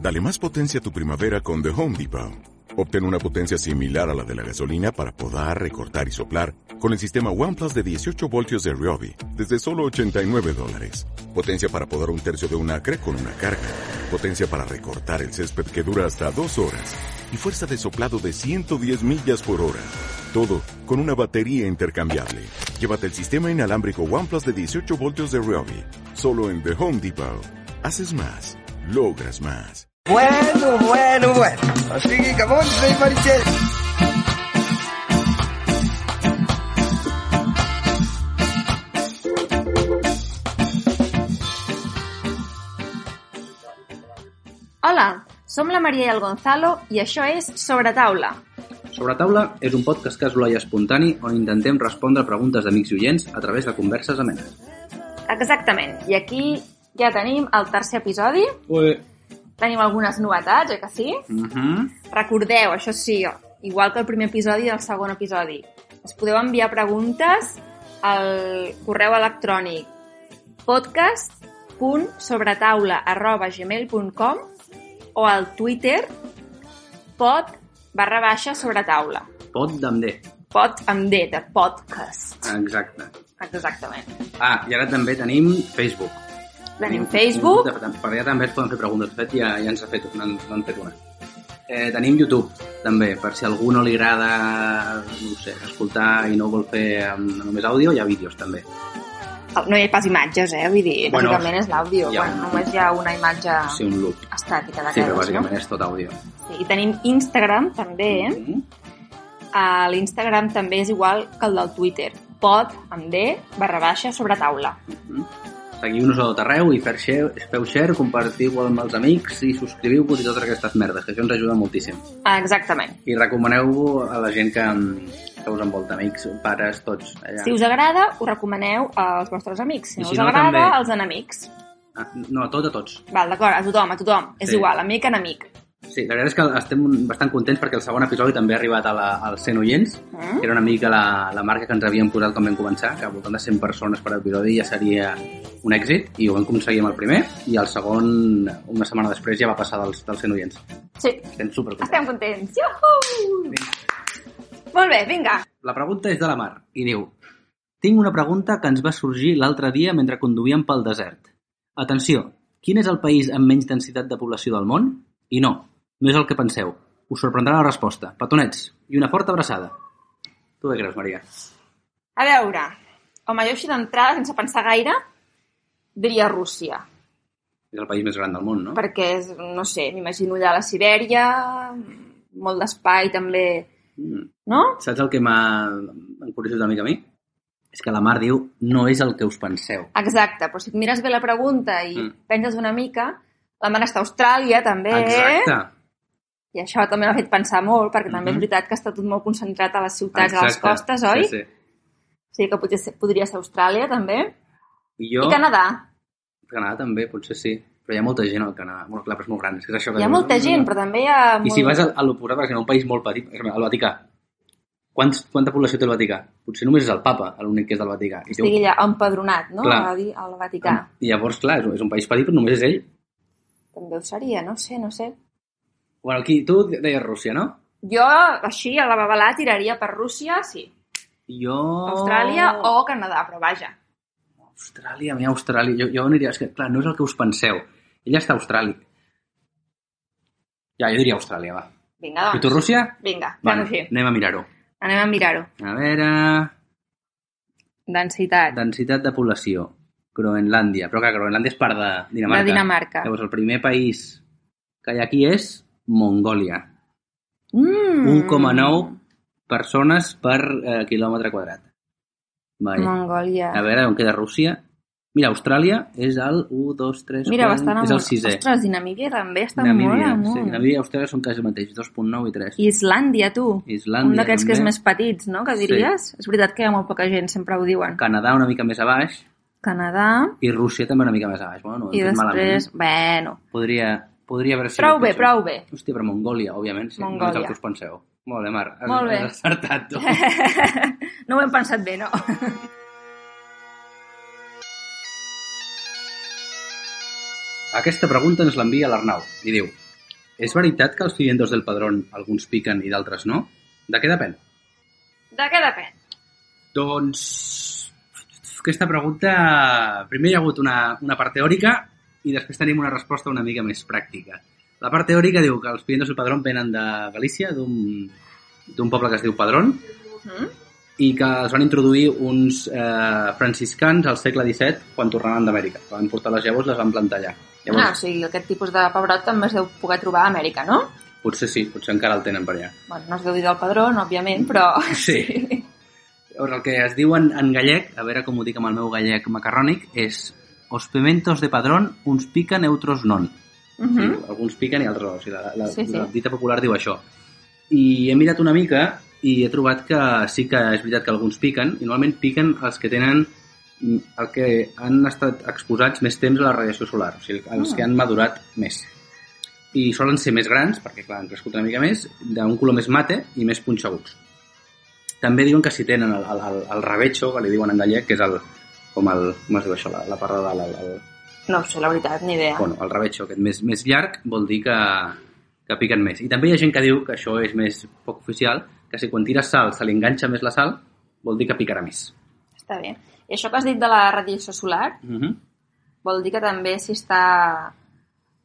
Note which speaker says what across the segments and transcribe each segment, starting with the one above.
Speaker 1: Dale más potencia a tu primavera con The Home Depot. Obtén una potencia similar a la de la gasolina para podar, recortar y soplar con el sistema OnePlus de 18 voltios de Ryobi desde solo 89 dólares. Potencia para podar un tercio de un acre con una carga. Potencia para recortar el césped que dura hasta dos horas. Y fuerza de soplado de 110 millas por hora. Todo con una batería intercambiable. Llévate el sistema inalámbrico OnePlus de 18 voltios de Ryobi. Solo en The Home Depot. Haces más. Logras más.
Speaker 2: Bueno, bueno, bueno. Así que, come on, Rey Marichel.
Speaker 3: Hola, som la Maria i el Gonzalo i això és Sobre Taula.
Speaker 4: Sobre taula és un podcast casual i espontani on intentem respondre preguntes d'amics i oients a través de converses amenes.
Speaker 3: Exactament, i aquí ja tenim el tercer episodi.
Speaker 4: Ué.
Speaker 3: Tenim algunes novetats, eh que sí?
Speaker 4: Uh -huh.
Speaker 3: Recordeu, això sí, igual que el primer episodi i el segon episodi, us podeu enviar preguntes al correu electrònic podcast.sobretaula.gmail.com o al Twitter pod barra baixa sobre taula.
Speaker 4: Pot d'amder.
Speaker 3: Pot amb D, de podcast.
Speaker 4: Exacte.
Speaker 3: Exactament.
Speaker 4: Ah, i ara també tenim Facebook.
Speaker 3: Tenim Facebook,
Speaker 4: Un, per allà també es poden fer preguntes. De fet, ja, ja ens ha fet, n'han n'han fet una. Eh, tenim YouTube, també, per si a algú no li agrada, no ho sé, escoltar i no vol fer amb només àudio, hi ha vídeos, també.
Speaker 3: Oh, no hi ha pas imatges, eh? Vull dir,
Speaker 4: Mm. Bueno,
Speaker 3: bàsicament és l'àudio.
Speaker 4: hi ha
Speaker 3: Bueno,
Speaker 4: un-
Speaker 3: només hi ha una imatge
Speaker 4: Sí, un loop.
Speaker 3: estàtica de
Speaker 4: Sí, però
Speaker 3: cada
Speaker 4: bàsicament és tot àudio.
Speaker 3: Sí, I tenim Instagram, també. Mm.
Speaker 4: Mhm.
Speaker 3: A L'Instagram també és igual que el del Twitter. Pod, amb D, barra baixa, sobre taula.
Speaker 4: Mm. Seguiu-nos a tot arreu i fer share, feu share, compartiu amb els amics i subscriviu-vos i totes aquestes merdes, que això ens ajuda moltíssim.
Speaker 3: Ah, exactament.
Speaker 4: I recomaneu-ho a la gent que, que us envolta, amics, pares, tots. Allà.
Speaker 3: Si us agrada, ho recomaneu als vostres amics. Si
Speaker 4: I
Speaker 3: no
Speaker 4: si
Speaker 3: us
Speaker 4: no,
Speaker 3: agrada,
Speaker 4: també.
Speaker 3: als enemics.
Speaker 4: Ah, no, a tot, a tots.
Speaker 3: Val, d'acord, a tothom, a tothom. És
Speaker 4: Sí.
Speaker 3: igual, amic, enemic.
Speaker 4: Sí, la veritat és que estem bastant contents perquè el segon episodi també ha arribat a la, als 100 oients,
Speaker 3: Mm?
Speaker 4: que era una mica la, la marca que ens havíem posat quan vam començar, que al voltant de 100 persones per episodi ja seria un èxit, i ho vam aconseguir amb el primer, i el segon, una setmana després, ja va passar dels, dels 100 oients.
Speaker 3: Sí,
Speaker 4: Estem supercontents.
Speaker 3: estem contents. Juhu! Molt bé, vinga.
Speaker 4: La pregunta és de la Mar, i diu... Tinc una pregunta que ens va sorgir l'altre dia mentre conduíem pel desert. Atenció, quin és el país amb menys densitat de població del món? I no, no és el que penseu. Us sorprendrà la resposta. Petonets, i una forta abraçada. Tu què creus, Maria?
Speaker 3: A veure, home, jo així d'entrada, sense pensar gaire, diria Rússia.
Speaker 4: És el país més gran del món, no?
Speaker 3: perquè és, no sé, m'imagino allà a la Sibèria, molt d'espai també,
Speaker 4: Mm.
Speaker 3: no?
Speaker 4: Saps el que m'ha encuriosat una mica a mi? És que la Mar diu, no és el que us penseu.
Speaker 3: Exacte, però si et mires bé la pregunta i
Speaker 4: Mm.
Speaker 3: mm. penses una mica, la mare està a Austràlia també,
Speaker 4: Exacte.
Speaker 3: i això també m'ha fet pensar molt, perquè també
Speaker 4: Mhm.
Speaker 3: és veritat que està tot molt concentrat a les ciutats, a les
Speaker 4: Exacte.
Speaker 3: costes, oi?
Speaker 4: Sí, sí.
Speaker 3: O sigui que potser ser, podria ser Austràlia també,
Speaker 4: I jo...
Speaker 3: i Canadà.
Speaker 4: Canadà també, potser sí. Però hi ha molta gent al Canadà. Bueno, clar, però és molt gran. És que és això que
Speaker 3: Hi ha
Speaker 4: dius.
Speaker 3: molta gent, però també hi ha...
Speaker 4: I si vas a, a l'oposat, perquè un país molt petit, per exemple, el Vaticà, Quants, quanta població té el Vaticà? Potser només és el papa l'únic que és del Vaticà. I
Speaker 3: Estigui allà empadronat, no?
Speaker 4: Clar.
Speaker 3: A dir, al Vaticà.
Speaker 4: I llavors, clar, és un, és un país petit, però només és ell.
Speaker 3: També ho seria, no sé, no sé.
Speaker 4: Bueno, aquí, tu deies Rússia, no?
Speaker 3: Jo, així, a la babalà, tiraria per Rússia, sí.
Speaker 4: Jo...
Speaker 3: Oh. Austràlia o Canadà, però vaja.
Speaker 4: Austràlia, mira, Austràlia. Jo, jo aniria... És que, clar, no és el que us penseu. Ella està a Austràlia. Ja, jo diria Austràlia, va.
Speaker 3: Vinga, doncs.
Speaker 4: I tu, Rússia?
Speaker 3: Vinga, bueno.
Speaker 4: Vale,
Speaker 3: així.
Speaker 4: anem a mirar-ho.
Speaker 3: Anem a mirar-ho.
Speaker 4: A veure...
Speaker 3: Densitat
Speaker 4: Densitat de població. Groenlàndia. Però clar, Groenlàndia és part de Dinamarca.
Speaker 3: de Dinamarca.
Speaker 4: Llavors, el primer país que hi ha aquí és Mongòlia.
Speaker 3: Mm.
Speaker 4: 1,9 persones per eh, quilòmetre quadrat. Vale.
Speaker 3: Mongòlia.
Speaker 4: A veure on queda Rússia. Mira, Austràlia és el 1, 2, 3,
Speaker 3: Mira,
Speaker 4: 4,
Speaker 3: bastant
Speaker 4: és
Speaker 3: amunt.
Speaker 4: el sisè.
Speaker 3: Ostres, Namíbia també està molt
Speaker 4: Namíbia, sí,
Speaker 3: amunt.
Speaker 4: Namíbia i Austràlia són quasi el mateix, 2.9 i 3.
Speaker 3: Islàndia, tu.
Speaker 4: Islàndia,
Speaker 3: Un d'aquests que és
Speaker 4: també.
Speaker 3: més petits, no?, que
Speaker 4: Sí.
Speaker 3: diries. És veritat que hi ha molt poca gent, sempre ho diuen.
Speaker 4: Canadà una mica més a baix
Speaker 3: Canadà
Speaker 4: i Rússia també una mica més a baix. Bueno, no ho hem
Speaker 3: i
Speaker 4: fet
Speaker 3: després...
Speaker 4: malament.
Speaker 3: Bueno,
Speaker 4: Podria, podria haver sigut
Speaker 3: prou bé,
Speaker 4: pitjor.
Speaker 3: prou bé.
Speaker 4: Hòstia, però Mongòlia, òbviament, sí. No és
Speaker 3: Mongòlia.
Speaker 4: el que us penseu. Molt bé, Mar. Has,
Speaker 3: Molt bé.
Speaker 4: Has acertat, tu.
Speaker 3: no ho hem pensat bé, no?
Speaker 4: Aquesta pregunta ens l'envia l'Arnau i diu És veritat que els clientes del padrón alguns piquen i d'altres no? De què depèn?
Speaker 3: De què depèn?
Speaker 4: Doncs... Aquesta pregunta... Primer hi ha hagut una, una part teòrica i després tenim una resposta una mica més pràctica. La part teòrica diu que els clients del Padrón venen de Galícia, d'un d'un poble que es diu Padrón,
Speaker 3: Mm?
Speaker 4: i que els van introduir uns eh, franciscans al segle XVII quan tornaven d'Amèrica. Van portar les llavors, les van plantar allà.
Speaker 3: Ah, o
Speaker 4: Llavors,
Speaker 3: sigui, aquest tipus de pebrot també es deu poder trobar a Amèrica, no?
Speaker 4: potser sí, potser encara el tenen per allà.
Speaker 3: Bueno, no es deu dir del padró, no, òbviament, però...
Speaker 4: Sí. Llavors, el que es diu en, en gallec, a veure com ho dic amb el meu gallec macarrònic, és «Os pimentos de padrón uns pican, otros non».
Speaker 3: Mhm.
Speaker 4: Sí, alguns piquen i altres no. O sigui, la, la,
Speaker 3: Sí,
Speaker 4: sí,
Speaker 3: sí.
Speaker 4: sí. la dita popular diu això. I he mirat una mica i he trobat que sí que és veritat que alguns piquen, i normalment piquen els que tenen mm, el que han estat exposats més temps a la radiació solar, o sigui, els
Speaker 3: Ah.
Speaker 4: que han madurat més. I solen ser més grans, perquè clar, han crescut una mica més, d'un color més mate i més punxeguts. També diuen que si tenen el, el, el, el rebecho, que li diuen en gallec, que és el, com, el, com es diu això, la, la part de dalt, el, el,
Speaker 3: No ho sé, la veritat, ni idea.
Speaker 4: Ah. bueno, el rebetxo aquest més, més llarg vol dir que, que piquen més. I també hi ha gent que diu que això és més poc oficial, que si quan tires sal se li enganxa més la sal, vol dir que picarà més.
Speaker 3: Està bé. I això que has dit de la radiació solar,
Speaker 4: Uh -huh.
Speaker 3: vol dir que també si està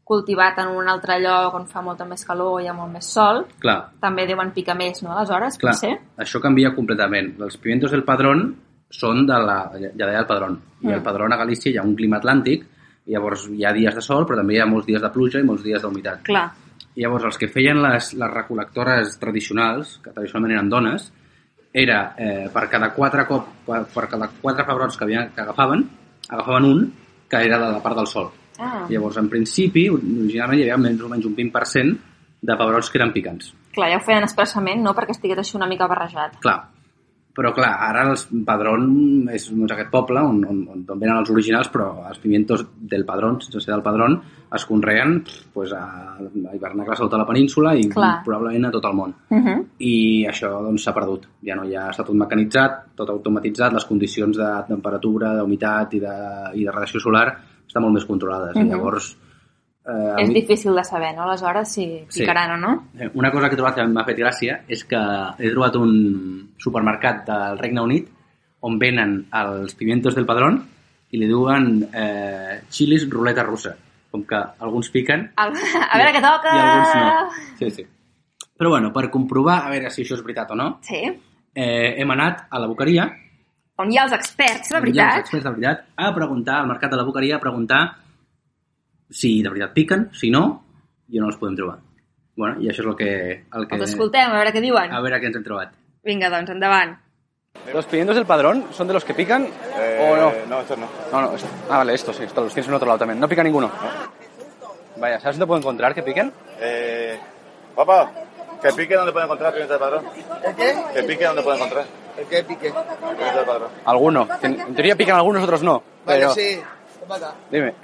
Speaker 3: cultivat en un altre lloc on fa molta més calor i hi ha molt més sol,
Speaker 4: Clar,
Speaker 3: també deuen picar més, no? Aleshores,
Speaker 4: clar,
Speaker 3: potser?
Speaker 4: això canvia completament. Els pimentos del padrón són de la... ja deia el padrón. I
Speaker 3: Mm.
Speaker 4: el padrón a Galícia hi ha un clima atlàntic, i llavors hi ha dies de sol, però també hi ha molts dies de pluja i molts dies d'humitat.
Speaker 3: Clar.
Speaker 4: I Llavors, els que feien les, les recol·lectores tradicionals, que tradicionalment eren dones, era eh, per cada quatre cop, per, per cada quatre pebrots que, havien, que agafaven, agafaven un que era de la part del sol.
Speaker 3: Ah,
Speaker 4: Llavors, en principi, originalment hi havia més o menys un 20% de pebrots que eren picants.
Speaker 3: clar, ja ho feien expressament, no? Perquè estigués així una mica barrejat.
Speaker 4: Clar, però clar, ara el padrón és doncs, aquest poble on, on, on, on venen els originals, però els pimientos del padrón, sense ser del padrón, es conreen pff, pues, a, a hivernacles a tota la península i
Speaker 3: Clar.
Speaker 4: probablement a tot el món.
Speaker 3: Uh -huh.
Speaker 4: i això doncs s'ha perdut. Ja no hi ha, està tot mecanitzat, tot automatitzat, les condicions de temperatura, d'humitat i, de, i de radiació solar estan molt més controlades.
Speaker 3: Mhm.
Speaker 4: I llavors, eh,
Speaker 3: És
Speaker 4: avui,
Speaker 3: difícil de saber, no? Aleshores, si
Speaker 4: Sí.
Speaker 3: picaran o no.
Speaker 4: eh, una cosa que he trobat que m'ha fet gràcia és que he trobat un supermercat del Regne Unit on venen els pimientos del padrón i li diuen eh, xilis ruleta russa. Com que alguns piquen
Speaker 3: Al- A veure què toca!
Speaker 4: i alguns no. Sí, sí. Però bueno, per comprovar a veure si això és veritat o no,
Speaker 3: Sí.
Speaker 4: eh, hem anat a la boqueria
Speaker 3: On hi ha els experts, de
Speaker 4: Hi ha uns
Speaker 3: veritat.
Speaker 4: experts de veritat a preguntar al mercat de la boqueria a preguntar si de veritat piquen, si no, i on els podem trobar. Bueno, i això és el que... El que
Speaker 3: Els Doncs escoltem, a veure què diuen.
Speaker 4: a veure què ens hem trobat.
Speaker 3: Vinga, doncs, endavant.
Speaker 5: ¿Los pimientos del padrón son de los que pican o no?
Speaker 6: No, estos no.
Speaker 5: No, no. esto- Ah, vale, estos sí, estos los tienes en otro lado también. No pica ninguno. Vaya, ¿sabes dónde puedo encontrar que piquen?
Speaker 6: Eh, papá, que pique donde puede encontrar pimienta del padrón.
Speaker 2: ¿El qué?
Speaker 6: Que pique donde puede encontrar
Speaker 2: ¿El qué pique? Vale,
Speaker 6: pimienta del padrón.
Speaker 5: Alguno. En en teoría pican algunos, otros no. Pero-
Speaker 2: sí. ¿Qué pasa?
Speaker 5: Dime,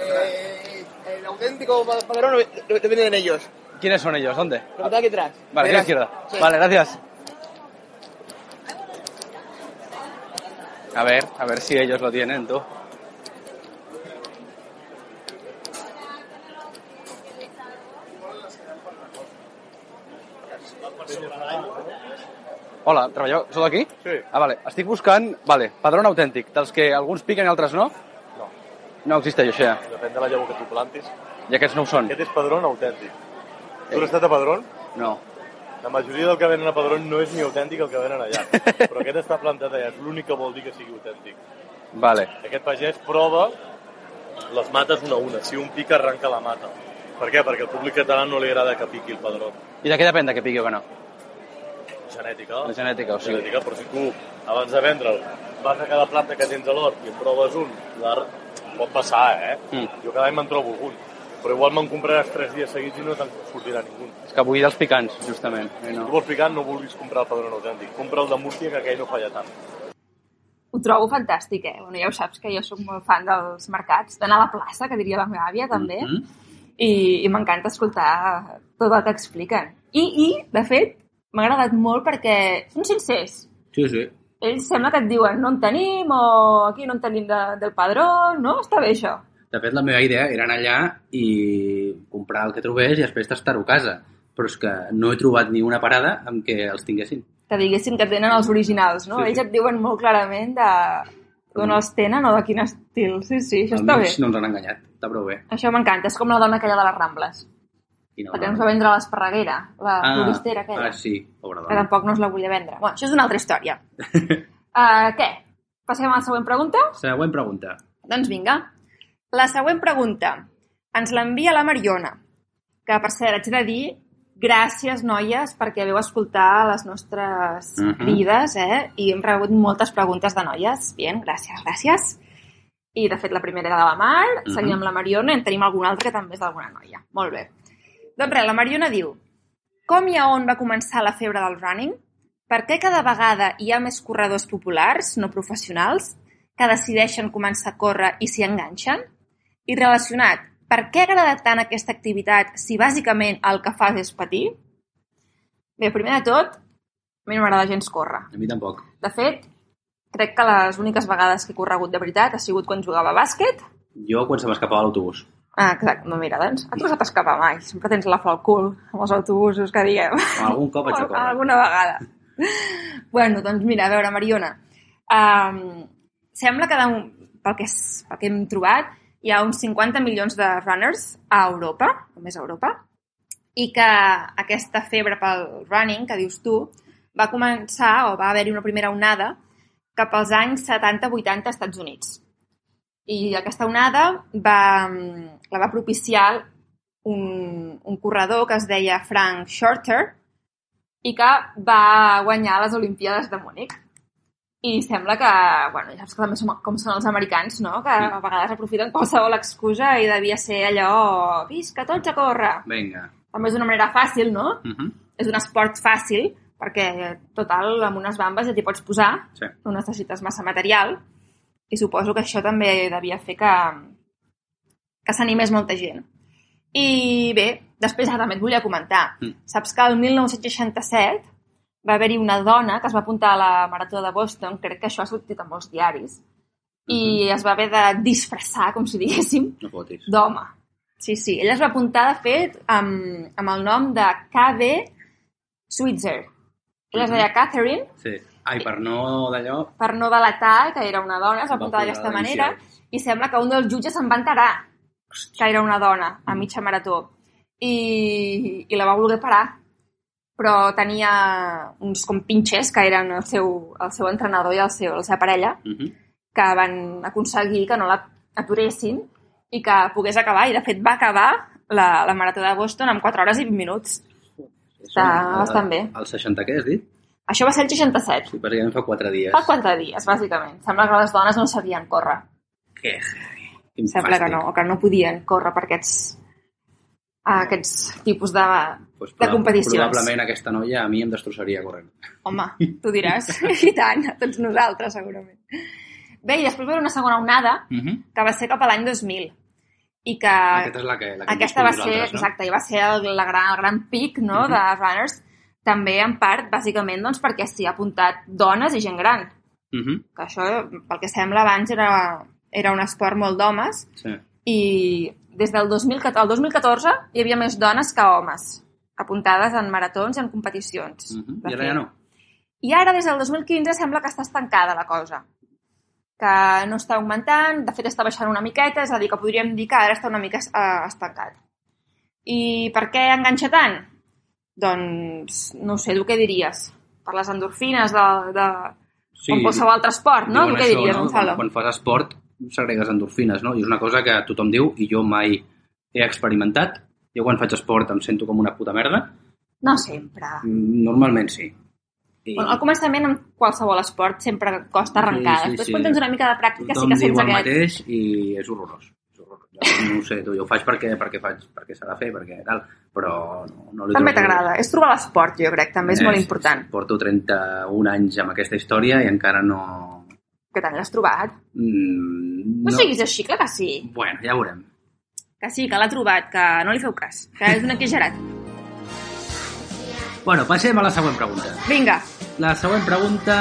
Speaker 2: Eh, el auténtico pa- padrón lo, lo- lo venden ellos.
Speaker 5: ¿quiénes son ellos? ¿Dónde?
Speaker 2: Lo que está aquí atrás.
Speaker 5: Vale, aquí a la izquierda.
Speaker 2: Verás. Sí.
Speaker 5: Vale, gracias. A ver, a ver si ellos lo tienen, tú. Hola, treballeu? Sou d'aquí?
Speaker 6: Sí.
Speaker 5: Ah, vale. Estic buscant, vale, padrón autèntic, dels que alguns piquen i altres no?
Speaker 6: No.
Speaker 5: No existeix això ja.
Speaker 6: Depèn de la llavor que tu plantis.
Speaker 5: I aquests no ho són?
Speaker 6: Aquest és padrón autèntic. Tu l'has estat a padrón?
Speaker 5: No.
Speaker 6: La majoria del que venen a padrón no és ni autèntic el que venen allà. Però aquest està plantat allà. És l'únic que vol dir que sigui autèntic.
Speaker 5: Vale.
Speaker 6: Aquest pagès prova les mates una a una. Si un pica, arranca la mata. Per què? Perquè al públic català no li agrada que piqui el padró.
Speaker 5: I de què depèn de que piqui o que no?
Speaker 6: Genètica.
Speaker 5: La genètica, o sigui...
Speaker 6: genètica, però si tu, abans de vendre'l, vas a cada planta que tens a l'hort i en proves un, la... pot passar, eh?
Speaker 5: Mm.
Speaker 6: Jo cada any me'n trobo algun, però igual me'n compraràs tres dies seguits i no te'n sortirà ningú.
Speaker 5: És que avui dels picants, justament. Eh,
Speaker 6: Si tu
Speaker 5: No.
Speaker 6: vols picar, no vulguis comprar el padrón autèntic. Compra el de Múrcia, que aquell no falla tant.
Speaker 3: Ho trobo fantàstic, eh? Bueno, ja ho saps que jo sóc molt fan dels mercats, d'anar a la plaça, que diria la meva àvia, també,
Speaker 4: Mhm.
Speaker 3: i, i m'encanta escoltar tot el que expliquen. I, i de fet, m'ha agradat molt perquè són sincers.
Speaker 4: Sí, sí.
Speaker 3: Ells sembla que et diuen no en tenim o aquí no en tenim de, del padró, no? Està bé això.
Speaker 4: De fet, la meva idea era anar allà i comprar el que trobés i després tastar-ho a casa. Però és que no he trobat ni una parada en què els tinguessin.
Speaker 3: Que diguessin que tenen els originals, no?
Speaker 4: Sí, sí.
Speaker 3: Ells et diuen molt clarament de d'on els tenen o de quin estil. Sí, sí, això està bé.
Speaker 4: Almenys no ens han enganyat. Està prou bé.
Speaker 3: Això m'encanta. És com la dona aquella de les Rambles,
Speaker 4: I no,
Speaker 3: la que ens va vendre a l'Esparreguera, la ah, floristera aquella.
Speaker 4: Ah, sí, pobra
Speaker 3: que
Speaker 4: dona.
Speaker 3: tampoc no us la volia vendre. Bueno, això és una altra història. uh, què? Passem a la següent pregunta?
Speaker 4: Següent pregunta.
Speaker 3: Doncs vinga. La següent pregunta ens l'envia la Mariona, que per cert, haig de dir gràcies, noies, perquè veu escoltar les nostres uh
Speaker 4: Mhm.
Speaker 3: -huh. crides, eh? I hem rebut moltes preguntes de noies. Bien, gràcies, gràcies. I, de fet, la primera era de la Mar, uh
Speaker 4: Mhm.
Speaker 3: -huh. seguim amb la Mariona i en tenim alguna altra que també és d'alguna noia. Molt bé. Doncs res, la Mariona diu Com i a on va començar la febre del running? Per què cada vegada hi ha més corredors populars, no professionals, que decideixen començar a córrer i s'hi enganxen? I relacionat, per què agrada tant aquesta activitat si bàsicament el que fas és patir? Bé, primer de tot, a mi no m'agrada gens córrer.
Speaker 4: A mi tampoc.
Speaker 3: De fet, crec que les úniques vegades que he corregut de veritat ha sigut quan jugava a bàsquet.
Speaker 4: Jo quan se m'escapava l'autobús.
Speaker 3: Ah, exacte, no, mira, doncs, a tu no se t'escapa mai. Sempre tens la flor al cul amb els autobusos que diem.
Speaker 4: Algun cop vaig a córrer.
Speaker 3: Alguna vegada. bueno, doncs mira, a veure, Mariona, um, sembla que, de, pel, que, s- pel que hem trobat, hi ha uns 50 milions de runners a Europa, només a Europa, i que aquesta febre pel running, que dius tu, va començar, o va haver-hi una primera onada, cap als anys 70-80 als Estats Units. I aquesta onada va, mm, la va propiciar un, un corredor que es deia Frank Shorter, i que va guanyar les Olimpíades de Múnich. I sembla que, bueno, ja saps que també som, com són els americans, no? Que a vegades aprofiten qualsevol excusa i devia ser allò, visca tots a córrer.
Speaker 4: Vinga.
Speaker 3: També és una manera fàcil, no?
Speaker 4: Uh -huh.
Speaker 3: És un esport fàcil, perquè, total, amb unes bambes ja t'hi pots posar,
Speaker 4: Sí.
Speaker 3: no necessites massa material, i suposo que això també devia fer que, que s'animés molta gent. I bé, després ara també et volia comentar.
Speaker 4: Mm.
Speaker 3: Saps que el 1967 va haver-hi una dona que es va apuntar a la Marató de Boston, crec que això ha sortit en molts diaris, i es va haver de disfressar, com si diguéssim,
Speaker 4: No fotis.
Speaker 3: d'home. Sí, sí. Ella es va apuntar, de fet, amb, amb el nom de KB Switzer. Ella es deia Catherine,
Speaker 4: Sí. Ai, per no d'allò...
Speaker 3: per no delatar que era una dona, es va
Speaker 4: Va
Speaker 3: apuntar
Speaker 4: posar
Speaker 3: d'aquesta
Speaker 4: les
Speaker 3: manera,
Speaker 4: inicials.
Speaker 3: i sembla que un dels jutges se'n va enterar que era una dona, a mitja marató. I, i la va voler parar, però tenia uns com pinxes que eren el seu, el seu entrenador i el seu, la seva parella,
Speaker 4: Uh -huh.
Speaker 3: que van aconseguir que no l'aturessin i que pogués acabar, i de fet va acabar la, la marató de Boston amb 4 hores i 20 minuts. Està bastant bé.
Speaker 4: El 60 què has dit?
Speaker 3: Això va ser el 67,
Speaker 4: Sí, bàsicament fa 4 dies.
Speaker 3: fa 40 dies, bàsicament. Sembla que les dones no sabien córrer.
Speaker 4: Que heavy. Quin
Speaker 3: Sembla que
Speaker 4: fàstic.
Speaker 3: no, o que no podien córrer per aquests,
Speaker 4: Eh.
Speaker 3: aquests tipus de...
Speaker 4: Pues,
Speaker 3: de competicions.
Speaker 4: Probablement aquesta noia a mi em destrossaria corrent.
Speaker 3: Home, tu diràs, i tant, a tots nosaltres, segurament. Bé, i després va haver una segona onada,
Speaker 4: Uh -huh.
Speaker 3: que va ser cap a l'any 2000, i que...
Speaker 4: Aquesta és la que, la que hem
Speaker 3: Ah, Aquesta va
Speaker 4: viscut
Speaker 3: ser,
Speaker 4: nosaltres, no?
Speaker 3: exacte, i va ser el, la gran, el gran pic no,
Speaker 4: Mhm.
Speaker 3: de runners, també en part, bàsicament, doncs, perquè s'hi ha apuntat dones i gent gran,
Speaker 4: Uh -huh.
Speaker 3: que això, pel que sembla, abans era, era un esport molt d'homes,
Speaker 4: Sí.
Speaker 3: i des del 2014, el 2014 hi havia més dones que homes apuntades en maratons i en competicions.
Speaker 4: Uh -huh.
Speaker 3: de
Speaker 4: I ara
Speaker 3: fet.
Speaker 4: ja no.
Speaker 3: I ara, des del 2015, sembla que està estancada la cosa. Que no està augmentant, de fet està baixant una miqueta, és a dir, que podríem dir que ara està una mica eh, estancat. I per què enganxa tant? Doncs, no ho sé, tu què diries? Per les endorfines de, de... Sí, com qualsevol altre esport, no?
Speaker 4: diuen
Speaker 3: Tu què
Speaker 4: això,
Speaker 3: diries,
Speaker 4: no?
Speaker 3: Gonzalo?
Speaker 4: Quan, quan fas esport segregues endorfines, no? I és una cosa que tothom diu i jo mai he experimentat. Jo quan faig esport em sento com una puta merda.
Speaker 3: No sempre.
Speaker 4: Mm, Normalment sí. I
Speaker 3: Bueno, al començament, en qualsevol esport, sempre costa arrencar.
Speaker 4: Sí, sí,
Speaker 3: Després,
Speaker 4: sí.
Speaker 3: quan tens una mica de pràctica, sí
Speaker 4: tothom
Speaker 3: que
Speaker 4: diu
Speaker 3: sents
Speaker 4: el
Speaker 3: aquest...
Speaker 4: mateix i és horrorós. És horrorós. Jo no ho sé, tu, jo ho faig perquè, perquè, faig, perquè s'ha de fer, perquè tal, però no, no li
Speaker 3: També
Speaker 4: trobo-
Speaker 3: t'agrada. És trobar l'esport, jo crec, també és molt
Speaker 4: Eh,
Speaker 3: important.
Speaker 4: Porto 31 anys amb aquesta història i encara no...
Speaker 3: Que tant l'has trobat.
Speaker 4: Mm,
Speaker 3: No, no siguis així, clar que sí.
Speaker 4: Bueno, ja veurem.
Speaker 3: Que sí, que l'ha trobat, que no li feu cas, que és un exagerat.
Speaker 4: Bueno, passem a la següent pregunta.
Speaker 3: Vinga,
Speaker 4: La següent pregunta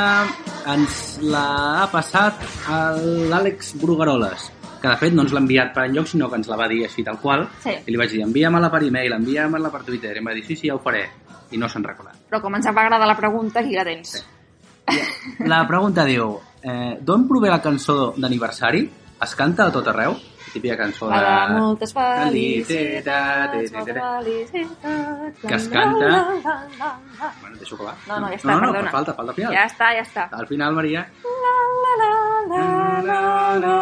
Speaker 4: ens la ha passat a l'Àlex Brugaroles, que que de fet no ens l'ha enviat per enlloc, sinó que ens la va dir així tal qual,
Speaker 3: Sí.
Speaker 4: i li vaig dir, envia-me-la per e-mail, envia-me-la per Twitter, i em va dir, sí, sí, ja ho faré, i no se'n recorda.
Speaker 3: Però com ens va agradar la pregunta, aquí la tens.
Speaker 4: La pregunta diu, eh, d'on prové la cançó d'aniversari? Es canta a tot arreu? La típica cançó de...
Speaker 3: Hola, moltes
Speaker 4: felicitats,
Speaker 3: felicitats,
Speaker 4: Que es canta.
Speaker 3: la, la, la, la.
Speaker 4: Bueno, deixo acabar.
Speaker 3: No, no, ja està,
Speaker 4: no, no,
Speaker 3: perdona.
Speaker 4: fa falta, falta final.
Speaker 3: Ja està, ja està.
Speaker 4: Al final, Maria,
Speaker 3: La, la, la, la, la, la.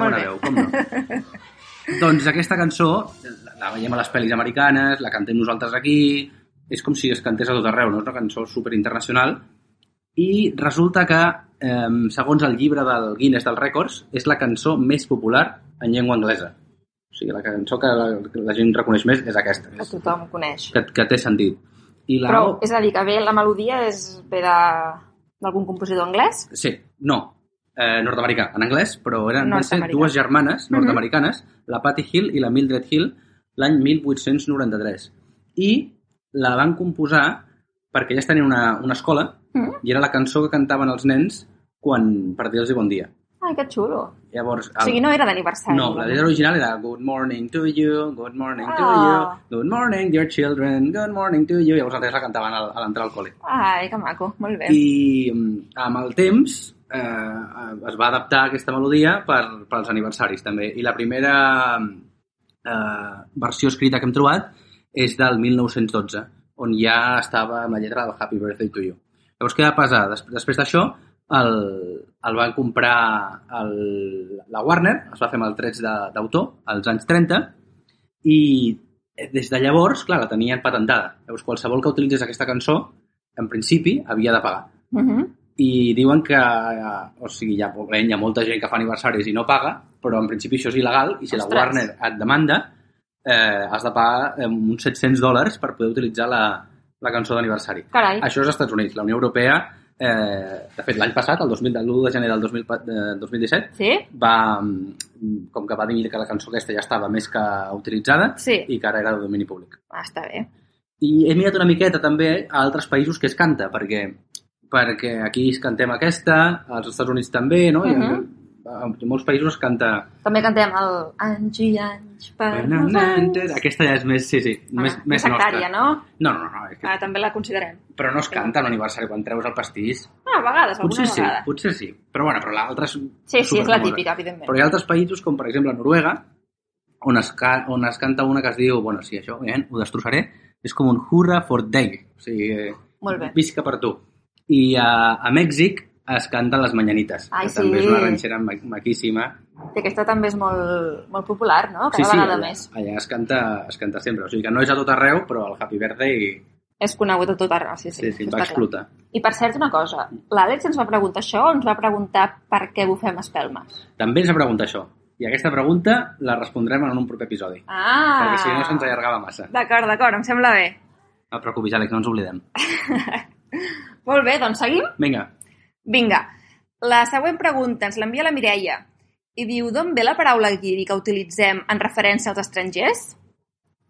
Speaker 3: Molt
Speaker 4: segona
Speaker 3: bé.
Speaker 4: veu, com no? doncs aquesta cançó la, la veiem a les pel·lis americanes, la cantem nosaltres aquí, és com si es cantés a tot arreu, no? És una cançó superinternacional i resulta que, eh, segons el llibre del Guinness dels Records, és la cançó més popular en llengua anglesa. O sigui, la cançó que la, que la gent reconeix més és aquesta,
Speaker 3: Que
Speaker 4: és,
Speaker 3: tothom coneix.
Speaker 4: que, que té sentit. I la
Speaker 3: Però, és a dir, que bé, la melodia és ve de- d'algun compositor anglès?
Speaker 4: Sí, no. Eh, nord-americà, en anglès, però eren van ser
Speaker 3: Nord-americà. Mhm.
Speaker 4: dues germanes nord-americanes, la Patty Hill i la Mildred Hill, l'any 1893. I la van composar perquè elles tenien una, una escola
Speaker 3: Mm.
Speaker 4: i era la cançó que cantaven els nens quan per dir-los bon dia.
Speaker 3: Ai, que xulo.
Speaker 4: Llavors, el...
Speaker 3: O sigui, no era d'aniversari.
Speaker 4: No, la lletra original era Good morning to you, good morning to
Speaker 3: Ah.
Speaker 4: you, good morning dear children, good morning to you. Llavors els nens la cantaven al- a l'entrar al col·le.
Speaker 3: Ai, que maco, molt bé.
Speaker 4: I mm, amb el temps eh, es va adaptar aquesta melodia per, pels aniversaris també. I la primera eh, versió escrita que hem trobat és del 1912, on ja estava amb la lletra del Happy Birthday to You. Llavors, què va passar? Des, després d'això, el, el van comprar el, la Warner, es va fer amb els drets de- d'autor, als anys 30, i eh, des de llavors, clar, la tenien patentada. Llavors, qualsevol que utilitzés aquesta cançó, en principi, havia de pagar.
Speaker 3: Mhm.
Speaker 4: I diuen que, eh, o sigui, ja, pobret, hi ha molta gent que fa aniversaris i no paga, però en principi això és il·legal i si la
Speaker 3: Ostres.
Speaker 4: Warner et demanda, eh, has de pagar eh, uns 700 dòlars per poder utilitzar la, la cançó d'aniversari.
Speaker 3: Carai,
Speaker 4: Això és als Estats Units. La Unió Europea, eh, de fet, l'any passat, el 2000, l'1 de gener del 2000, pa- de 2017,
Speaker 3: sí?
Speaker 4: va, mm, com que va dir que la cançó aquesta ja estava més que utilitzada
Speaker 3: Sí.
Speaker 4: i que ara era de domini públic.
Speaker 3: Ah, està bé.
Speaker 4: I he mirat una miqueta també a altres països que es canta, perquè, perquè aquí es cantem aquesta, als Estats Units també, no?
Speaker 3: Mhm.
Speaker 4: I en, en molts països es canta...
Speaker 3: També cantem el Anys i anys per nosaltres.
Speaker 4: Aquesta ja és més, sí, sí,
Speaker 3: Ah,
Speaker 4: més, més
Speaker 3: sectària,
Speaker 4: nostra.
Speaker 3: no?
Speaker 4: No, no, no, és que,
Speaker 3: Ah, també la considerem.
Speaker 4: però no es canta a l'aniversari quan treus el pastís.
Speaker 3: Ah, a vegades, alguna
Speaker 4: Potser sí,
Speaker 3: vegada.
Speaker 4: potser sí. Però bueno, però l'altra és
Speaker 3: Sí, sí, és la
Speaker 4: superfamosa.
Speaker 3: típica, evidentment.
Speaker 4: Però hi ha altres països, com per exemple Noruega, on es, ca on es canta una que es diu, bueno, sí, això, eh, ho destrossaré, és com un hurra for day, o sigui, eh,
Speaker 3: Molt bé.
Speaker 4: visca per tu. I a, a Mèxic es canten les mañanites,
Speaker 3: Ai,
Speaker 4: que també
Speaker 3: sí.
Speaker 4: és una ranxera ma maquíssima.
Speaker 3: I aquesta també és molt, molt popular, no? Cada vegada
Speaker 4: allà,
Speaker 3: més.
Speaker 4: allà es, canta, es canta sempre, o sigui que no és a tot arreu, però el Happy Birthday
Speaker 3: És conegut a tot arreu. Sí, sí,
Speaker 4: sí, sí,
Speaker 3: això
Speaker 4: va
Speaker 3: està clar.
Speaker 4: explotar.
Speaker 3: I per cert, una cosa. L'Àlex ens va preguntar això o ens va preguntar per què bufem espelmes?
Speaker 4: També ens pregunta això, i aquesta pregunta la respondrem en un proper episodi,
Speaker 3: Ah!
Speaker 4: perquè si no se'ns allargava massa.
Speaker 3: D'acord, d'acord, em sembla bé.
Speaker 4: No et preocupis, Àlex, no ens oblidem.
Speaker 3: Molt bé, doncs seguim?
Speaker 4: Vinga,
Speaker 3: Vinga, la següent pregunta ens l'envia la Mireia i diu d'on ve la paraula guiri que utilitzem en referència als estrangers?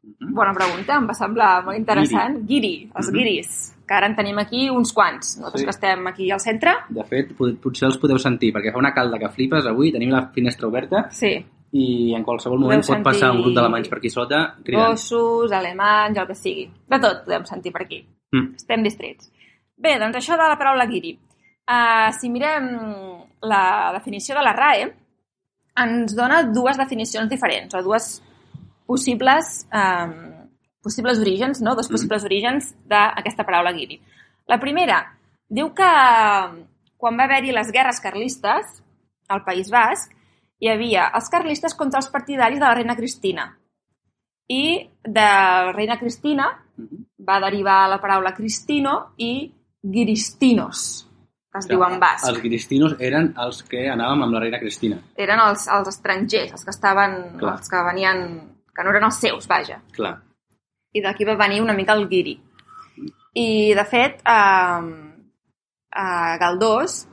Speaker 4: Mm-hmm.
Speaker 3: Bona pregunta, em va semblar molt interessant. Guiri, els
Speaker 4: Mhm.
Speaker 3: guiris, que ara en tenim aquí uns quants. Nosaltres
Speaker 4: Sí.
Speaker 3: que estem aquí al centre,
Speaker 4: De fet, pot- potser els podeu sentir, perquè fa una calda que flipes avui, tenim la finestra oberta
Speaker 3: sí,
Speaker 4: i en qualsevol moment
Speaker 3: Podeu
Speaker 4: pot passar un
Speaker 3: sentir-
Speaker 4: grup d'alemanys per aquí sota cridant.
Speaker 3: gossos, alemanys, el que sigui. De tot podem sentir per aquí.
Speaker 4: Mm.
Speaker 3: Estem distrets. Bé, doncs això de la paraula guiri. Uh, si mirem la definició de la RAE, ens dona dues definicions diferents, o dues possibles, um, possibles orígens, no? dos possibles orígens d'aquesta paraula guiri. La primera diu que ehm, quan va haver-hi les guerres carlistes al País Basc, hi havia els carlistes contra els partidaris de la reina Cristina. I de la reina Cristina
Speaker 4: Mhm.
Speaker 3: va derivar la paraula cristino i guiristinos, que es diu en basc.
Speaker 4: Els cristinos eren els que anàvem amb la reina Cristina.
Speaker 3: Eren els, els estrangers, els que estaven,
Speaker 4: Clar.
Speaker 3: els que venien, que no eren els seus, vaja.
Speaker 4: Clar.
Speaker 3: I d'aquí va venir una mica el guiri. I, de fet, eh, eh, Galdós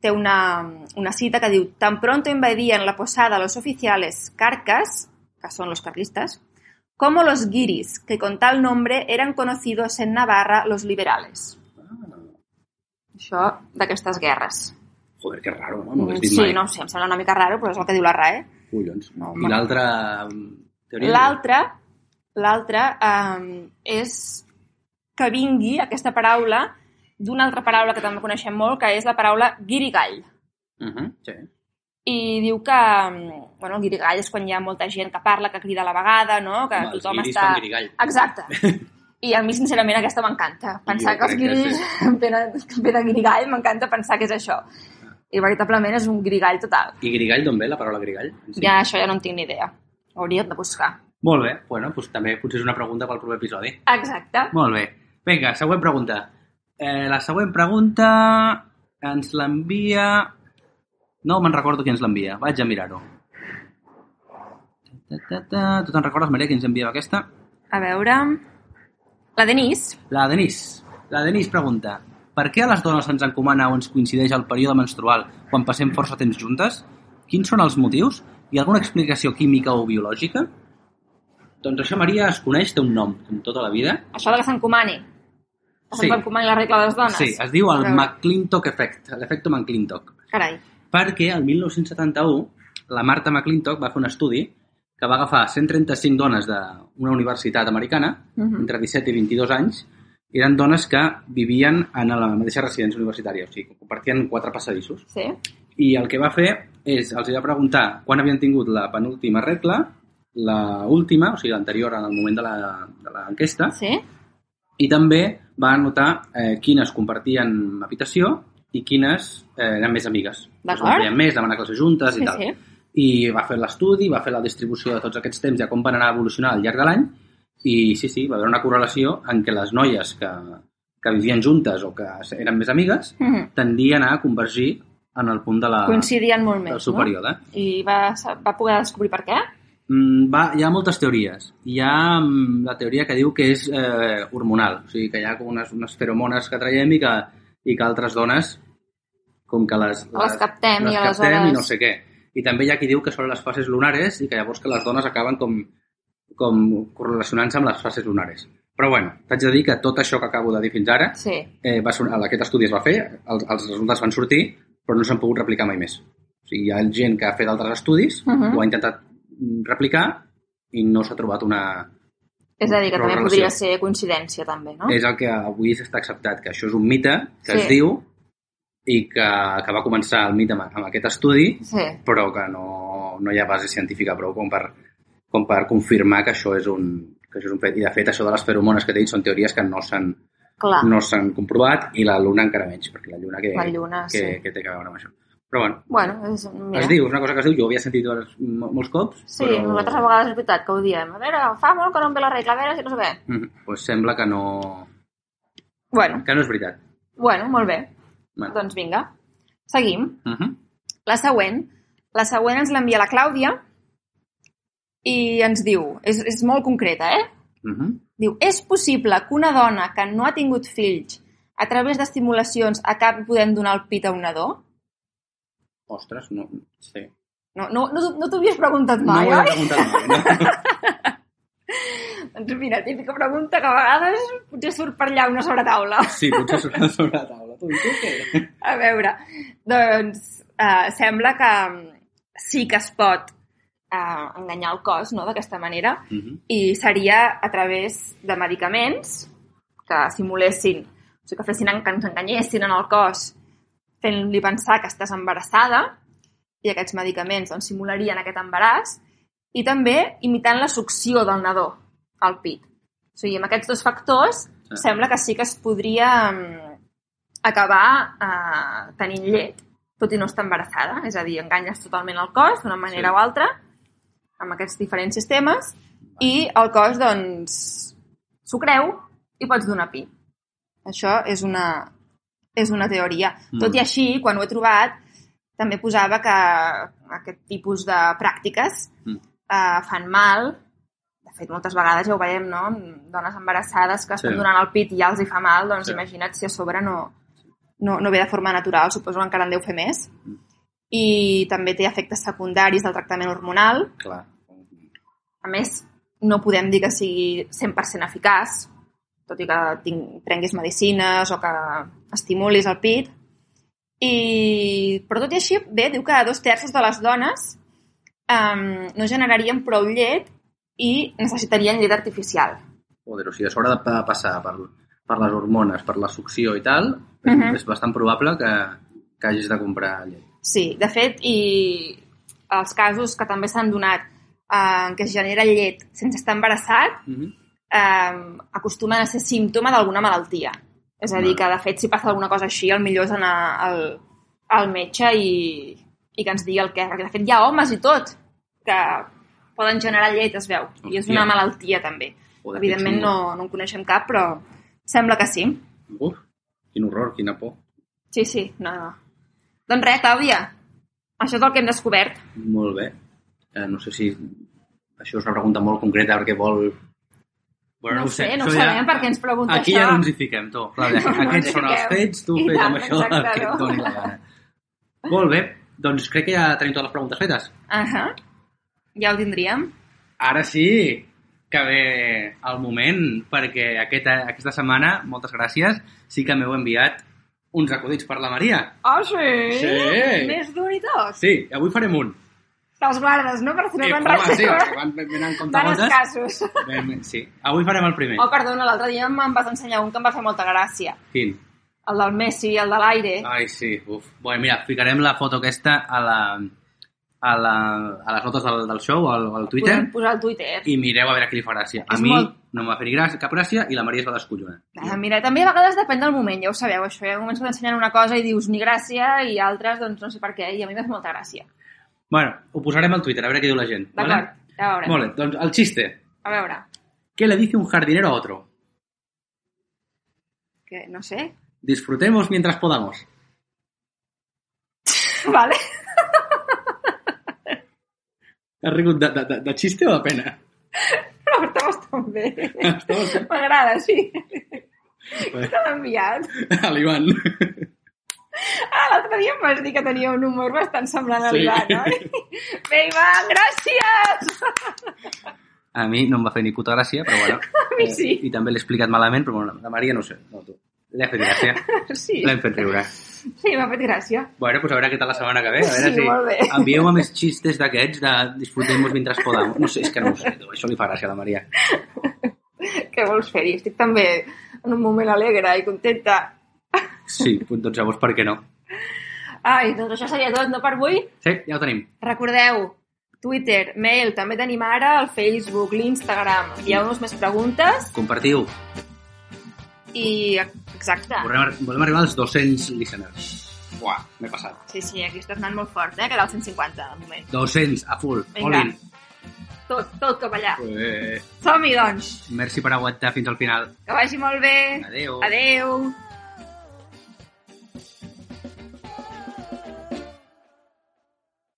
Speaker 3: té una, una cita que diu «Tan pronto invadían la posada los oficiales carcas, que son los carlistas, como los guiris, que con tal nombre eran conocidos en Navarra los liberales». Això d'aquestes guerres.
Speaker 4: Joder, que raro, no? No ho has dit
Speaker 3: sí,
Speaker 4: mai.
Speaker 3: no ho sé, em sembla una mica raro, però és el que diu la RAE.
Speaker 4: Collons.
Speaker 3: No,
Speaker 4: I
Speaker 3: home.
Speaker 4: l'altra mm, teoria...
Speaker 3: L'altra, l'altra um, és que vingui aquesta paraula d'una altra paraula que també coneixem molt, que és la paraula guirigall.
Speaker 4: Uh -huh, sí.
Speaker 3: I diu que, mm, bueno, el guirigall és quan hi ha molta gent que parla, que crida a la vegada, no? Que
Speaker 4: Home, els
Speaker 3: tothom
Speaker 4: guiris
Speaker 3: està...
Speaker 4: fan guirigall.
Speaker 3: Exacte. I a mi, sincerament, aquesta m'encanta. Pensar
Speaker 4: Jo
Speaker 3: que els
Speaker 4: crec que
Speaker 3: guiris em venen ve de guirigall, m'encanta pensar que és això. I veritablement és un guirigall total.
Speaker 4: I grigall, d'on ve la paraula grigall?
Speaker 3: Sí. Ja, això ja no en tinc ni idea. Ho hauríem de buscar.
Speaker 4: Molt bé, bueno, doncs també potser és una pregunta pel proper episodi.
Speaker 3: Exacte.
Speaker 4: Molt bé. Vinga, següent pregunta. Eh, la següent pregunta ens l'envia... No me'n recordo qui ens l'envia. Vaig a mirar-ho. Ta, ta, ta. Tu te'n recordes, Maria, qui ens enviava aquesta?
Speaker 3: A veure... La Denise.
Speaker 4: La Denís. La Denís pregunta Per què a les dones se'ns encomana o ens coincideix el període menstrual quan passem força temps juntes? Quins són els motius? Hi ha alguna explicació química o biològica? Doncs això, Maria, es coneix, té un nom en tota la vida.
Speaker 3: Això de que s'encomani. Que
Speaker 4: Sí.
Speaker 3: sí. s'encomani la regla de les dones.
Speaker 4: Sí, es diu
Speaker 3: A
Speaker 4: el
Speaker 3: veure.
Speaker 4: McClintock Effect, l'efecte McClintock.
Speaker 3: Carai.
Speaker 4: perquè el 1971 la Marta McClintock va fer un estudi que va agafar 135 dones d'una universitat americana,
Speaker 3: Mhm.
Speaker 4: entre 17 i 22 anys, i eren dones que vivien en la mateixa residència universitària, o sigui, que compartien quatre passadissos.
Speaker 3: Sí.
Speaker 4: I el que va fer és, els va preguntar quan havien tingut la penúltima regla, la última, o sigui, l'anterior en el moment de la- de l'enquesta,
Speaker 3: Sí?
Speaker 4: i també va notar eh, quines compartien habitació i quines eh, eren més amigues. Doncs
Speaker 3: D'acord.
Speaker 4: Les veien més, demanar classes juntes
Speaker 3: Sí,
Speaker 4: i tal
Speaker 3: sí.
Speaker 4: i va fer l'estudi, va fer la distribució de tots aquests temps, de com van anar evolucionant al llarg de l'any, i sí, sí, va haver una correlació en què les noies que, que vivien juntes o que eren més amigues
Speaker 3: Mm -hmm.
Speaker 4: tendien a convergir en el punt de la,
Speaker 3: Coincidien molt més,
Speaker 4: Ah, del superior. Eh?
Speaker 3: no? I va, va poder descobrir per què?
Speaker 4: Mm, Va, hi ha moltes teories. Hi ha mm, la teoria que diu que és eh, hormonal, o sigui que hi ha com unes, unes feromones que traiem i que, i que altres dones com que les,
Speaker 3: Les captem
Speaker 4: les
Speaker 3: i
Speaker 4: captem
Speaker 3: aleshores-
Speaker 4: i no sé què. I també hi ha qui diu que són les fases lunares i que llavors que les dones acaben com, com correlacionant-se amb les fases lunares. Però bueno, t'haig de dir que tot això que acabo de dir fins ara,
Speaker 3: Sí.
Speaker 4: eh, va sonar, aquest estudi es va fer, els, els resultats van sortir, però no s'han pogut replicar mai més. O sigui, hi ha gent que ha fet altres estudis, uh
Speaker 3: Mhm.
Speaker 4: -huh. ho ha intentat mm, replicar i no s'ha trobat una...
Speaker 3: És a dir, que
Speaker 4: Però
Speaker 3: també
Speaker 4: relació.
Speaker 3: podria ser coincidència, també, no?
Speaker 4: És el que avui s'està acceptat, que això és un mite que
Speaker 3: Ah. Sí.
Speaker 4: es diu i que, que va començar el mite amb, amb aquest estudi,
Speaker 3: Sí.
Speaker 4: però que no, no hi ha base científica prou com per, com per confirmar que això és un que això és un fet. I, de fet, això de les feromones que t'he dit són teories que no s'han
Speaker 3: Clar.
Speaker 4: no s'han comprovat i la Luna encara menys, perquè la Lluna que,
Speaker 3: La Lluna,
Speaker 4: que,
Speaker 3: sí.
Speaker 4: que té a veure amb això. Però bueno,
Speaker 3: Bueno, és, mira.
Speaker 4: es diu, és una cosa que es diu, jo ho havia sentit mo- molts cops,
Speaker 3: Sí,
Speaker 4: però
Speaker 3: nosaltres a vegades és veritat que ho diem. A veure, fa molt que no em ve la regla, a veure si no sé què.
Speaker 4: Mhm, pues sembla que no,
Speaker 3: Bueno,
Speaker 4: que no és veritat.
Speaker 3: bueno, molt bé.
Speaker 4: Bueno.
Speaker 3: Doncs vinga, seguim.
Speaker 4: Uh -huh.
Speaker 3: La següent. La següent ens l'envia la Clàudia i ens diu, és, és molt concreta, eh?
Speaker 4: Uh -huh.
Speaker 3: Diu, és possible que una dona que no ha tingut fills a través d'estimulacions acabi podent donar el pit a un nadó?
Speaker 4: Ostres, no, sí.
Speaker 3: No, no, no, t'ho- no t'ho havies preguntat
Speaker 4: no
Speaker 3: mai,
Speaker 4: ho he
Speaker 3: oi?
Speaker 4: preguntat mai. No?
Speaker 3: Doncs mira, típica pregunta que a vegades potser surt per allà una sobretaula.
Speaker 4: Sí, potser sobre, sobre la taula. Tu, tu què?
Speaker 3: A veure, doncs eh, sembla que mm, sí que es pot eh, enganyar el cos no, d'aquesta manera
Speaker 4: Mhm.
Speaker 3: i seria a través de medicaments que simulessin, o sigui, que, fessin, en- que ens enganyessin en el cos fent-li pensar que estàs embarassada i aquests medicaments doncs, simularien aquest embaràs i també imitant la succió del nadó al pit. O sigui, amb aquests dos factors
Speaker 4: Ah.
Speaker 3: sembla que sí que es podria mm, acabar eh, tenint llet, tot i no estar embarassada. És a dir, enganyes totalment el cos d'una manera sí.
Speaker 4: Sí.
Speaker 3: o altra amb aquests diferents sistemes i el cos, doncs, s'ho creu i pots donar pi. Això és una, és una teoria.
Speaker 4: Mm.
Speaker 3: Tot i així, quan ho he trobat, també posava que aquest tipus de pràctiques
Speaker 4: Mm.
Speaker 3: eh, fan mal. De fet, moltes vegades ja ho veiem, no? Amb Dones embarassades que estan
Speaker 4: Sí.
Speaker 3: donant el pit i ja els hi fa mal, doncs
Speaker 4: Sí.
Speaker 3: imagina't si a sobre no, no, no ve de forma natural, suposo que encara en deu fer més.
Speaker 4: Mm.
Speaker 3: I també té efectes secundaris del tractament hormonal.
Speaker 4: Clar.
Speaker 3: A més, no podem dir que sigui 100% eficaç, tot i que tinc, prenguis medicines o que estimulis el pit, I, però tot i així, bé, diu que dos terços de les dones um, no generarien prou llet i necessitarien llet artificial.
Speaker 4: Joder, o sigui, a sobre de pa- passar per, per les hormones, per la succió i tal,
Speaker 3: Mhm.
Speaker 4: és bastant probable que, que hagis de comprar llet.
Speaker 3: Sí, de fet, i els casos que també s'han donat eh, en què es genera llet sense estar embarassat
Speaker 4: Mhm.
Speaker 3: eh, acostumen a ser símptoma d'alguna malaltia. És a dir, que de fet, si passa alguna cosa així, el millor és anar al, al metge i, i que ens digui el què. Perquè de fet hi ha homes i tot que poden generar llet, es veu. I és
Speaker 4: Hòstia.
Speaker 3: una malaltia també.
Speaker 4: Joder,
Speaker 3: Evidentment
Speaker 4: quin
Speaker 3: no,
Speaker 4: horror.
Speaker 3: no en coneixem cap, però sembla que sí.
Speaker 4: Uf, quin horror, quina por.
Speaker 3: Sí, sí, no, no. Doncs res, Clàudia, això és el que hem descobert.
Speaker 4: Molt bé. Eh, no sé si això és una pregunta molt concreta perquè vol...
Speaker 3: Bueno, no ho sé, no ho
Speaker 4: això
Speaker 3: sabem per què ens pregunta
Speaker 4: Aquí
Speaker 3: això.
Speaker 4: ja no ens hi fiquem, tu. Clàudia,
Speaker 3: No, no ens
Speaker 4: aquests
Speaker 3: hi
Speaker 4: són els
Speaker 3: fiquem.
Speaker 4: fets, tu
Speaker 3: I
Speaker 4: fes
Speaker 3: tant,
Speaker 4: amb això el
Speaker 3: exacte,
Speaker 4: que
Speaker 3: no.
Speaker 4: et doni la gana. Molt bé, doncs crec que ja tenim totes les preguntes fetes.
Speaker 3: Ahà. Ja ho tindríem.
Speaker 4: Ara sí que ve el moment, perquè aquesta, aquesta setmana, moltes gràcies, sí que m'heu enviat uns acudits per la Maria.
Speaker 3: Ah, sí?
Speaker 4: Sí.
Speaker 3: Més d'un i tot.
Speaker 4: Sí, avui farem un.
Speaker 3: Te'ls guardes, no? Per si no
Speaker 4: Eh,
Speaker 3: te'n
Speaker 4: home, sí, perquè
Speaker 3: recordes.
Speaker 4: van, van, en compte
Speaker 3: Van
Speaker 4: gotes.
Speaker 3: escassos.
Speaker 4: Ben, ben, sí. Avui farem el primer.
Speaker 3: Oh, perdona, l'altre dia me'n vas ensenyar un que em va fer molta gràcia.
Speaker 4: Quin?
Speaker 3: El del Messi, el de l'aire.
Speaker 4: Ai, sí, uf. Bueno, mira, ficarem la foto aquesta a, la, a, la, a les notes del, del show, al, al Twitter,
Speaker 3: Podem posar al Twitter. I...
Speaker 4: i mireu a veure què li fa gràcia. A
Speaker 3: És
Speaker 4: mi
Speaker 3: molt-
Speaker 4: no em va fer ni gràcia, cap gràcia i la Maria es va descollonar.
Speaker 3: Ah, mira, també a vegades depèn del moment, ja ho sabeu, això. Ja comences ensenyant una cosa i dius ni gràcia i altres, doncs no sé per què, i a mi m'ha fet molta gràcia.
Speaker 4: Bueno, ho posarem al Twitter, a veure què diu la gent. vale?
Speaker 3: D'acord? Ja veurem.
Speaker 4: Molt bé, doncs el xiste.
Speaker 3: A veure,
Speaker 4: ¿Qué le dice un jardinero a otro?
Speaker 3: que no sé.
Speaker 4: Disfrutemos mientras podamos.
Speaker 3: vale.
Speaker 4: Has rigut de, de, de, de xiste o de pena?
Speaker 3: Però estamos tan bé.
Speaker 4: Estamos tan-
Speaker 3: M'agrada, sí. Te l'ha enviat.
Speaker 4: A l'Ivan.
Speaker 3: Ah, l'altre dia em vas dir que tenia un humor bastant semblant a
Speaker 4: Sí.
Speaker 3: l'Ivan, oi? Bé, Ivan, gràcies!
Speaker 4: A mi no em va fer ni puta gràcia, però bueno. eh,
Speaker 3: A mi sí.
Speaker 4: I també l'he explicat malament, però bueno, la Maria no ho sé. No, tu. L'he fet gràcia.
Speaker 3: Sí,
Speaker 4: L'hem fet riure.
Speaker 3: sí m'ha fet gràcia.
Speaker 4: Bueno, pues a veure què tal la setmana que ve. A veure
Speaker 3: Sí, molt bé.
Speaker 4: si envieu-me més xistes d'aquests de disfrutem-vos mentre podamos. No sé, és que no ho sé, tu. això li fa gràcia a la Maria.
Speaker 3: Què vols fer? I estic també en un moment alegre i contenta.
Speaker 4: Sí, doncs llavors per què no?
Speaker 3: Ai, doncs això seria tot, no per avui?
Speaker 4: Sí, ja ho tenim.
Speaker 3: Recordeu, Twitter, mail, també tenim ara el Facebook, l'Instagram. Envieu-nos més preguntes
Speaker 4: Compartiu.
Speaker 3: i... Exacte.
Speaker 4: Volem, volem arribar als 200 listeners. Buah, m'he passat.
Speaker 3: Sí, sí, aquí estàs anant molt fort, eh? Que era el 150, de moment.
Speaker 4: 200, a full.
Speaker 3: Vinga.
Speaker 4: All in.
Speaker 3: Tot, tot cap allà.
Speaker 4: Eh,
Speaker 3: Som-hi, doncs.
Speaker 4: merci per aguantar fins al final.
Speaker 3: Que vagi molt bé.
Speaker 4: Adéu.
Speaker 3: Adeu.